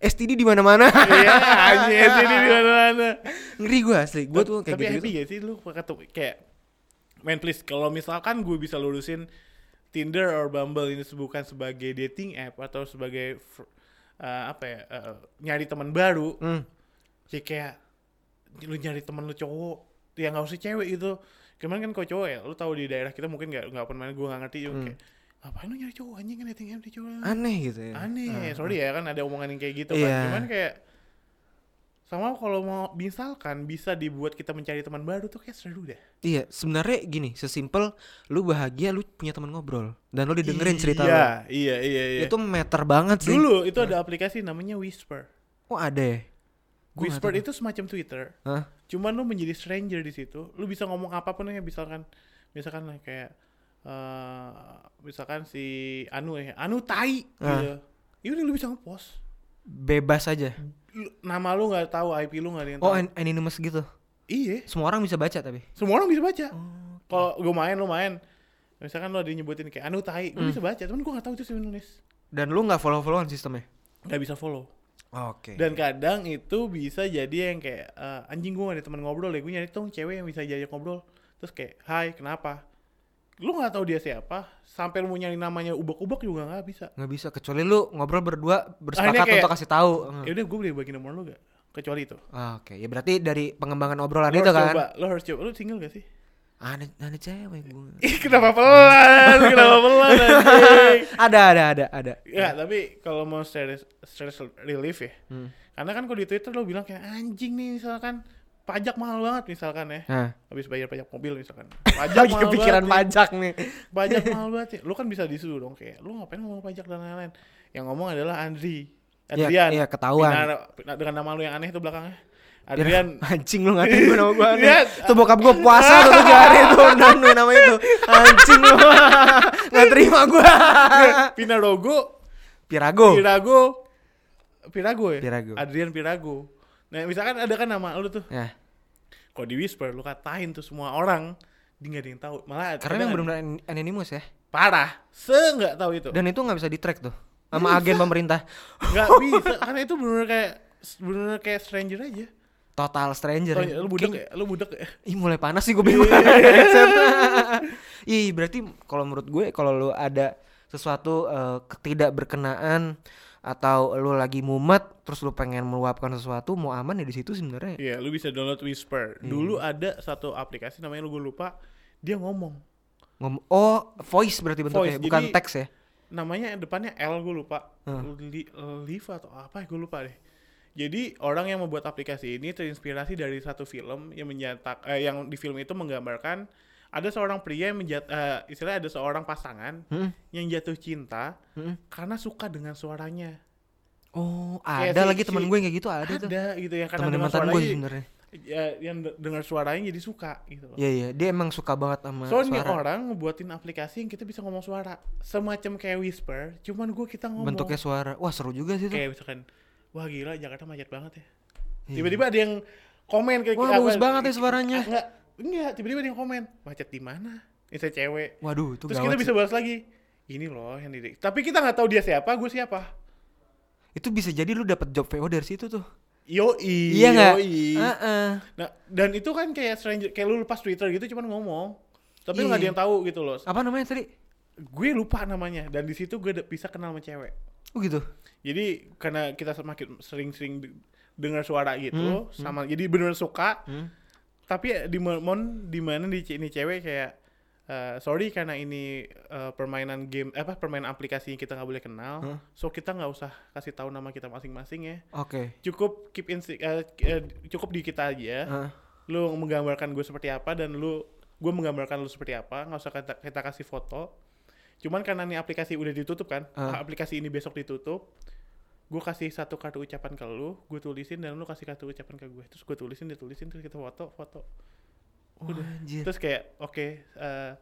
Speaker 2: STD di mana-mana.
Speaker 1: Iya, anjir ini di mana-mana.
Speaker 2: ngeri gue asli. Gue tuh kayak
Speaker 1: tapi
Speaker 2: gitu.
Speaker 1: happy gak sih lu ketemu kayak man please kalau misalkan gue bisa lurusin Tinder or Bumble ini bukan sebagai dating app atau sebagai fr- eh, apa ya eh, nyari teman baru
Speaker 2: Hmm.
Speaker 1: ya kayak lu nyari teman lu cowok
Speaker 2: Hmm.
Speaker 1: ya nggak usah cewek gitu kemarin kan kau cowok ya lu tahu di daerah kita mungkin nggak nggak pernah main gue nggak ngerti juga kayak ngapain lu nyari cowok anjing kan dating app di cowok
Speaker 2: aneh gitu ya
Speaker 1: aneh
Speaker 2: Ah.
Speaker 1: sorry ya kan ada omongan yang kayak gitu
Speaker 2: Iya.
Speaker 1: kan cuman kayak sama kalau mau misalkan bisa dibuat kita mencari teman baru tuh kayak seru deh
Speaker 2: iya sebenarnya gini sesimpel lu bahagia lu punya teman ngobrol dan lu didengerin cerita
Speaker 1: iya,
Speaker 2: lu
Speaker 1: iya iya iya
Speaker 2: itu meter banget sih
Speaker 1: dulu itu ada aplikasi namanya Whisper
Speaker 2: oh ada ya Gua nggak
Speaker 1: Whisper
Speaker 2: tahu.
Speaker 1: itu semacam Twitter
Speaker 2: Hah?
Speaker 1: cuman lu menjadi stranger di situ lu bisa ngomong apapun ya misalkan misalkan lah kayak eh misalkan si Anu ya Anu tai gitu ya udah lu bisa ngepost
Speaker 2: bebas aja
Speaker 1: Lu- nama lu nggak tahu IP lu nggak ada yang
Speaker 2: oh
Speaker 1: tahu
Speaker 2: an- anonymous gitu
Speaker 1: iya
Speaker 2: semua orang bisa baca tapi
Speaker 1: semua orang bisa baca kalau gue main lu main misalkan lu ada yang nyebutin kayak Anu tai gue bisa baca cuman gue nggak tahu itu siapa yang nulis
Speaker 2: dan lu nggak follow followan sistemnya
Speaker 1: nggak bisa follow
Speaker 2: oke
Speaker 1: dan kadang itu bisa jadi yang kayak eh, anjing gue gak ada teman ngobrol ya gue nyari tuh cewek yang bisa jadi ngobrol terus kayak hai kenapa lu nggak tahu dia siapa sampai lu mau nyari namanya ubek-ubek juga nggak bisa
Speaker 2: nggak bisa kecuali lu ngobrol berdua bersepakat
Speaker 1: kayak-
Speaker 2: untuk kasih tahu
Speaker 1: ya udah gue boleh bagi nomor lu gak kecuali itu
Speaker 2: Ah, oke ya berarti dari pengembangan obrolan
Speaker 1: lu
Speaker 2: itu
Speaker 1: harus
Speaker 2: kan
Speaker 1: coba lu harus coba lu single gak sih
Speaker 2: ada ada cewek gue
Speaker 1: Ih, kenapa pelan kenapa pelan anjing
Speaker 2: ada ada ada ada
Speaker 1: ya tapi kalau mau stress, stress relief ya
Speaker 2: Hmm.
Speaker 1: karena kan kalau di twitter lu bilang kayak anjing nih misalkan pajak mahal banget misalkan ya
Speaker 2: Nah,
Speaker 1: habis bayar pajak mobil misalkan
Speaker 2: pajak
Speaker 1: pajak
Speaker 2: lagi
Speaker 1: mahal
Speaker 2: kepikiran
Speaker 1: banget nih.
Speaker 2: pajak nih.
Speaker 1: pajak mahal banget ya. Lu kan bisa disuruh dong kayak lu ngapain ngomong pajak dan lain-lain. Yang ngomong adalah Andri.
Speaker 2: Iya,
Speaker 1: Adrian.
Speaker 2: iya, ketahuan.
Speaker 1: Pina- pina- dengan nama lu yang aneh tuh belakangnya. Adrian.
Speaker 2: Anjing lu ngatain gue nama gue aneh.
Speaker 1: Iya.
Speaker 2: Tuh bokap gue puasa tuh tiga hari tuh nanu nama itu. Anjing lu. Nggak terima gue.
Speaker 1: Pinarogo,
Speaker 2: Pirago.
Speaker 1: Iya. Pirago. Pirago ya?
Speaker 2: Oh. Pirago.
Speaker 1: Adrian Pirago. Nah, misalkan ada kan nama lu tuh.
Speaker 2: Ya,
Speaker 1: Kalau di Whisper lu katain tuh semua orang, dia nggak ada yang tahu. Malah
Speaker 2: karena
Speaker 1: kadang
Speaker 2: yang benar-benar an- anonymous ya.
Speaker 1: parah. Se nggak tahu itu.
Speaker 2: Dan itu nggak bisa di track tuh sama
Speaker 1: Iya.
Speaker 2: agen pemerintah.
Speaker 1: Nggak bisa karena itu benar kayak benar kayak stranger aja.
Speaker 2: Total stranger.
Speaker 1: Tau, lu Iya. budak
Speaker 2: Kayak-
Speaker 1: ya? Lu budak ya?
Speaker 2: Ih mulai panas sih gue bingung. Accept. Ih berarti kalau menurut gue kalau lu ada sesuatu eh, ketidakberkenaan atau lu lagi mumet terus lu pengen meluapkan sesuatu mau aman ya di situ sebenarnya.
Speaker 1: Iya, lu bisa download Whisper.
Speaker 2: Hmm.
Speaker 1: Dulu ada satu aplikasi namanya lu gue lupa, dia ngomong.
Speaker 2: Ngom- oh voice berarti bentuknya
Speaker 1: Voice,
Speaker 2: bukan
Speaker 1: jadi-
Speaker 2: teks ya.
Speaker 1: Namanya depannya L gue lupa. Li, Liv atau apa gue lupa deh. Jadi orang yang membuat aplikasi ini terinspirasi dari satu film yang menjatak eh, yang di film itu menggambarkan ada seorang pria yang menjat eh, istilahnya ada seorang pasangan
Speaker 2: Mm-mm.
Speaker 1: yang jatuh cinta
Speaker 2: Mm-mm.
Speaker 1: karena suka dengan suaranya.
Speaker 2: Hmm? Oh
Speaker 1: Kayak
Speaker 2: ada
Speaker 1: si-
Speaker 2: lagi teman
Speaker 1: si-
Speaker 2: gue yang kayak gitu ada, tuh.
Speaker 1: Iya Ada gitu ya karena
Speaker 2: Temen
Speaker 1: dengan
Speaker 2: mantan gue
Speaker 1: suaranya
Speaker 2: sebenarnya.
Speaker 1: ya, yang de- dengar suaranya jadi suka gitu loh.
Speaker 2: Iya iya dia emang suka banget sama
Speaker 1: Soalnya
Speaker 2: suara.
Speaker 1: orang ngebuatin aplikasi yang kita bisa ngomong suara. Semacam kayak whisper, cuman gue kita ngomong.
Speaker 2: Bentuknya suara. Wah seru juga sih tuh.
Speaker 1: kayak misalkan, wah gila Jakarta macet banget ya.
Speaker 2: Iya.
Speaker 1: Tiba-tiba ada yang komen kayak
Speaker 2: Wah
Speaker 1: apa- ah,
Speaker 2: bagus banget ya suaranya.
Speaker 1: Enggak, enggak, tiba-tiba ada yang komen, macet di mana? Ini saya cewek.
Speaker 2: Waduh itu
Speaker 1: Terus
Speaker 2: gawat
Speaker 1: kita
Speaker 2: sih.
Speaker 1: bisa bahas lagi. Ini loh yang di Tapi kita nggak tahu dia siapa, gue siapa.
Speaker 2: Itu bisa jadi lu dapat job VO dari situ tuh.
Speaker 1: Yoi,
Speaker 2: Iya nggak?
Speaker 1: yoi.
Speaker 2: Heeh.
Speaker 1: Nah, dan itu kan kayak stranger, kayak lu lepas Twitter gitu cuman ngomong. Tapi lu nggak ada
Speaker 2: Iya.
Speaker 1: yang tahu gitu loh.
Speaker 2: Apa namanya tadi?
Speaker 1: Gue lupa namanya dan di situ gue de- bisa kenal sama cewek.
Speaker 2: Oh gitu.
Speaker 1: Jadi karena kita semakin sering-sering de- dengar suara gitu sama jadi bener suka.
Speaker 2: Hmm.
Speaker 1: Tapi eh, di momen di mana di ce- ini cewek kayak eh, sorry karena ini eh, permainan game apa permainan aplikasi yang kita nggak boleh kenal.
Speaker 2: Huh?
Speaker 1: So kita nggak usah kasih tahu nama kita masing-masing ya.
Speaker 2: Oke.
Speaker 1: Cukup keep in se- eh, k- eh, cukup di kita aja.
Speaker 2: Heeh.
Speaker 1: Lu menggambarkan gue seperti apa dan lu gue menggambarkan lu seperti apa, nggak usah kita, kita kasih foto. Cuman karena ini aplikasi udah ditutup kan,
Speaker 2: Ah.
Speaker 1: aplikasi ini besok ditutup, gue kasih satu kartu ucapan ke lu, gue tulisin dan lu kasih kartu ucapan ke gue, terus gue tulisin, dia tulisin, terus kita foto, foto,
Speaker 2: Wah, Oh, anjir.
Speaker 1: terus kayak oke, eh,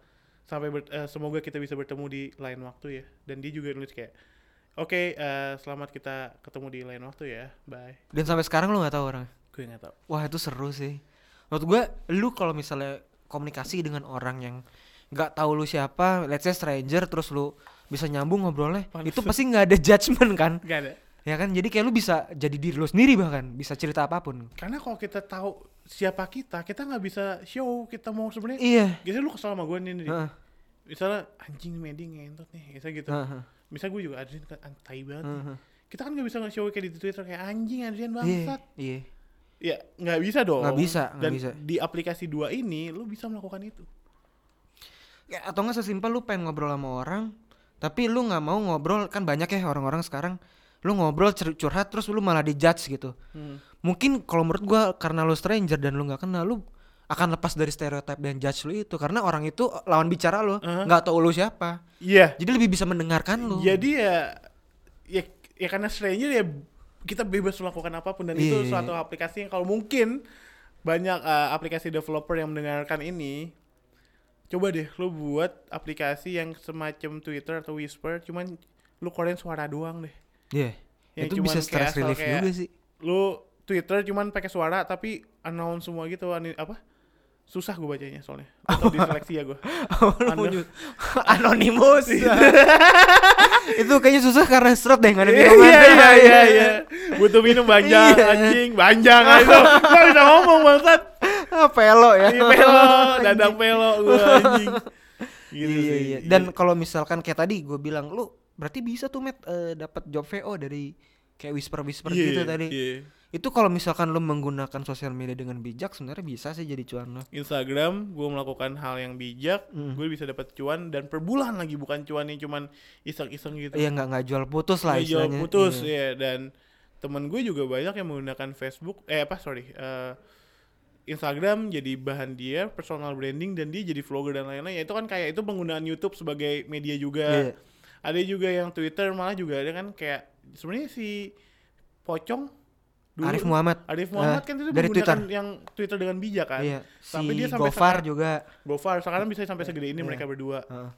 Speaker 1: sampai ber- eh, semoga kita bisa bertemu di lain waktu ya, dan dia juga nulis kayak oke, eh, selamat kita ketemu di lain waktu ya, bye,
Speaker 2: Dan sampai sekarang lu nggak tahu orang.
Speaker 1: gue nggak tahu.
Speaker 2: Wah itu seru sih. Menurut gua, lu kalau misalnya komunikasi dengan orang yang nggak tahu lu siapa, let's say stranger, terus lu bisa nyambung ngobrolnya,
Speaker 1: Panas.
Speaker 2: itu pasti nggak ada judgement kan?
Speaker 1: Gak ada.
Speaker 2: Ya kan? Jadi kayak lu bisa jadi diri lu sendiri bahkan, bisa cerita apapun.
Speaker 1: Karena kalau kita tahu siapa kita, kita nggak bisa show kita mau sebenarnya.
Speaker 2: Iya.
Speaker 1: Biasanya lu kesel sama gue nih, nih.
Speaker 2: Heeh.
Speaker 1: misalnya anjing nih Medi ngentot nih, misalnya gitu.
Speaker 2: Heeh.
Speaker 1: Misalnya gue juga Adrian kan antai banget. nih.
Speaker 2: Heeh.
Speaker 1: Kita kan gak bisa nge-show kayak di Twitter kayak anjing Adrian
Speaker 2: Iya.
Speaker 1: bangsat.
Speaker 2: Iya.
Speaker 1: Ya nggak bisa dong.
Speaker 2: Nggak bisa, nggak
Speaker 1: Dan
Speaker 2: bisa.
Speaker 1: di aplikasi dua ini lu bisa melakukan itu.
Speaker 2: Ya, atau nggak sesimpel lu pengen ngobrol sama orang tapi lu nggak mau ngobrol kan banyak ya orang-orang sekarang lu ngobrol cer- curhat terus lu malah dijudge gitu
Speaker 1: Hmm.
Speaker 2: mungkin kalau menurut gua karena lu stranger dan lu nggak kenal lu akan lepas dari stereotip dan judge lu itu karena orang itu lawan bicara lu
Speaker 1: Uh-huh.
Speaker 2: nggak tahu lu siapa
Speaker 1: Iya.
Speaker 2: jadi lebih bisa mendengarkan lu
Speaker 1: Jadi ya, ya ya karena stranger ya kita bebas melakukan apapun dan itu
Speaker 2: Iya.
Speaker 1: suatu aplikasi yang kalau mungkin banyak eh, aplikasi developer yang mendengarkan ini coba deh lu buat aplikasi yang semacam Twitter atau Whisper cuman lu keluarin suara doang deh.
Speaker 2: Iya.
Speaker 1: Ya,
Speaker 2: itu
Speaker 1: cuman
Speaker 2: bisa
Speaker 1: kayak
Speaker 2: stress
Speaker 1: asal
Speaker 2: relief
Speaker 1: kayak-
Speaker 2: juga sih
Speaker 1: Lu Twitter cuman pakai suara tapi announce semua gitu ani- apa? Susah gue bacanya soalnya.
Speaker 2: Oh.
Speaker 1: Atau diseleksi ya gue.
Speaker 2: Lu mau
Speaker 1: Anda-
Speaker 2: ju- anonimus
Speaker 1: Iya.
Speaker 2: itu kayaknya susah karena seret deh nggak ada
Speaker 1: Iya
Speaker 2: minuman.
Speaker 1: iya iya iya. Butuh minum banyak
Speaker 2: Iya.
Speaker 1: anjing, banyak ah, itu. Gak bisa ngomong bangsat.
Speaker 2: Ah, pelo ya
Speaker 1: Iya, pelo, dadang pelo gua anjing. Gitu
Speaker 2: iya
Speaker 1: sih.
Speaker 2: iya dan kalau misalkan kayak tadi gue bilang lu berarti bisa tuh met dapat job VO dari kayak whisper whisper
Speaker 1: Iya,
Speaker 2: gitu tadi
Speaker 1: iya.
Speaker 2: itu kalau misalkan lu menggunakan sosial media dengan bijak sebenarnya bisa sih jadi cuan lo
Speaker 1: Instagram gue melakukan hal yang bijak,
Speaker 2: Mm.
Speaker 1: gue bisa dapat cuan dan per bulan lagi bukan cuan yang cuman iseng-iseng gitu.
Speaker 2: Iya nggak nggak jual putus lah
Speaker 1: Nggak jual
Speaker 2: istilahnya.
Speaker 1: putus
Speaker 2: Iya.
Speaker 1: ya dan temen gue juga banyak yang menggunakan Facebook eh apa sorry eh, Instagram jadi bahan dia personal branding dan dia jadi vlogger dan lain-lain ya itu kan kayak itu penggunaan YouTube sebagai media juga
Speaker 2: Iya.
Speaker 1: ada juga yang Twitter malah juga ada kan kayak sebenarnya si pocong dulu
Speaker 2: Arif Muhammad.
Speaker 1: Arif Muhammad
Speaker 2: Eh,
Speaker 1: kan itu
Speaker 2: dari
Speaker 1: menggunakan yang Twitter dengan bijak kan
Speaker 2: Iya. Si
Speaker 1: Tapi dia sampai
Speaker 2: Gofar
Speaker 1: sekarang-
Speaker 2: juga.
Speaker 1: Gofar sekarang bisa sampai segede ini
Speaker 2: Iya.
Speaker 1: mereka berdua
Speaker 2: Heeh.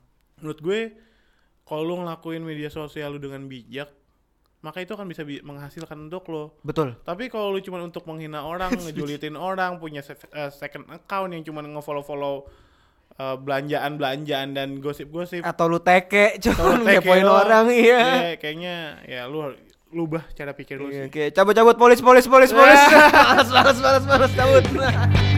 Speaker 1: menurut gue kalau lu ngelakuin media sosial lu dengan bijak maka itu akan bisa bi- menghasilkan untuk lo
Speaker 2: betul.
Speaker 1: tapi kalau lu cuma untuk menghina orang ngejulitin orang punya se- eh, second account yang cuma ngefollow-follow eh, belanjaan-belanjaan dan gosip-gosip
Speaker 2: Atau lu teke
Speaker 1: Kalau teke
Speaker 2: cuman ngepoin
Speaker 1: doang,
Speaker 2: orang iya.
Speaker 1: ya, kayaknya ya lu har- lu ubah cara pikir lu sih
Speaker 2: Iya, Oke, cabut-cabut polis polis polis polis.
Speaker 1: Ah.
Speaker 2: Males males males males cabut.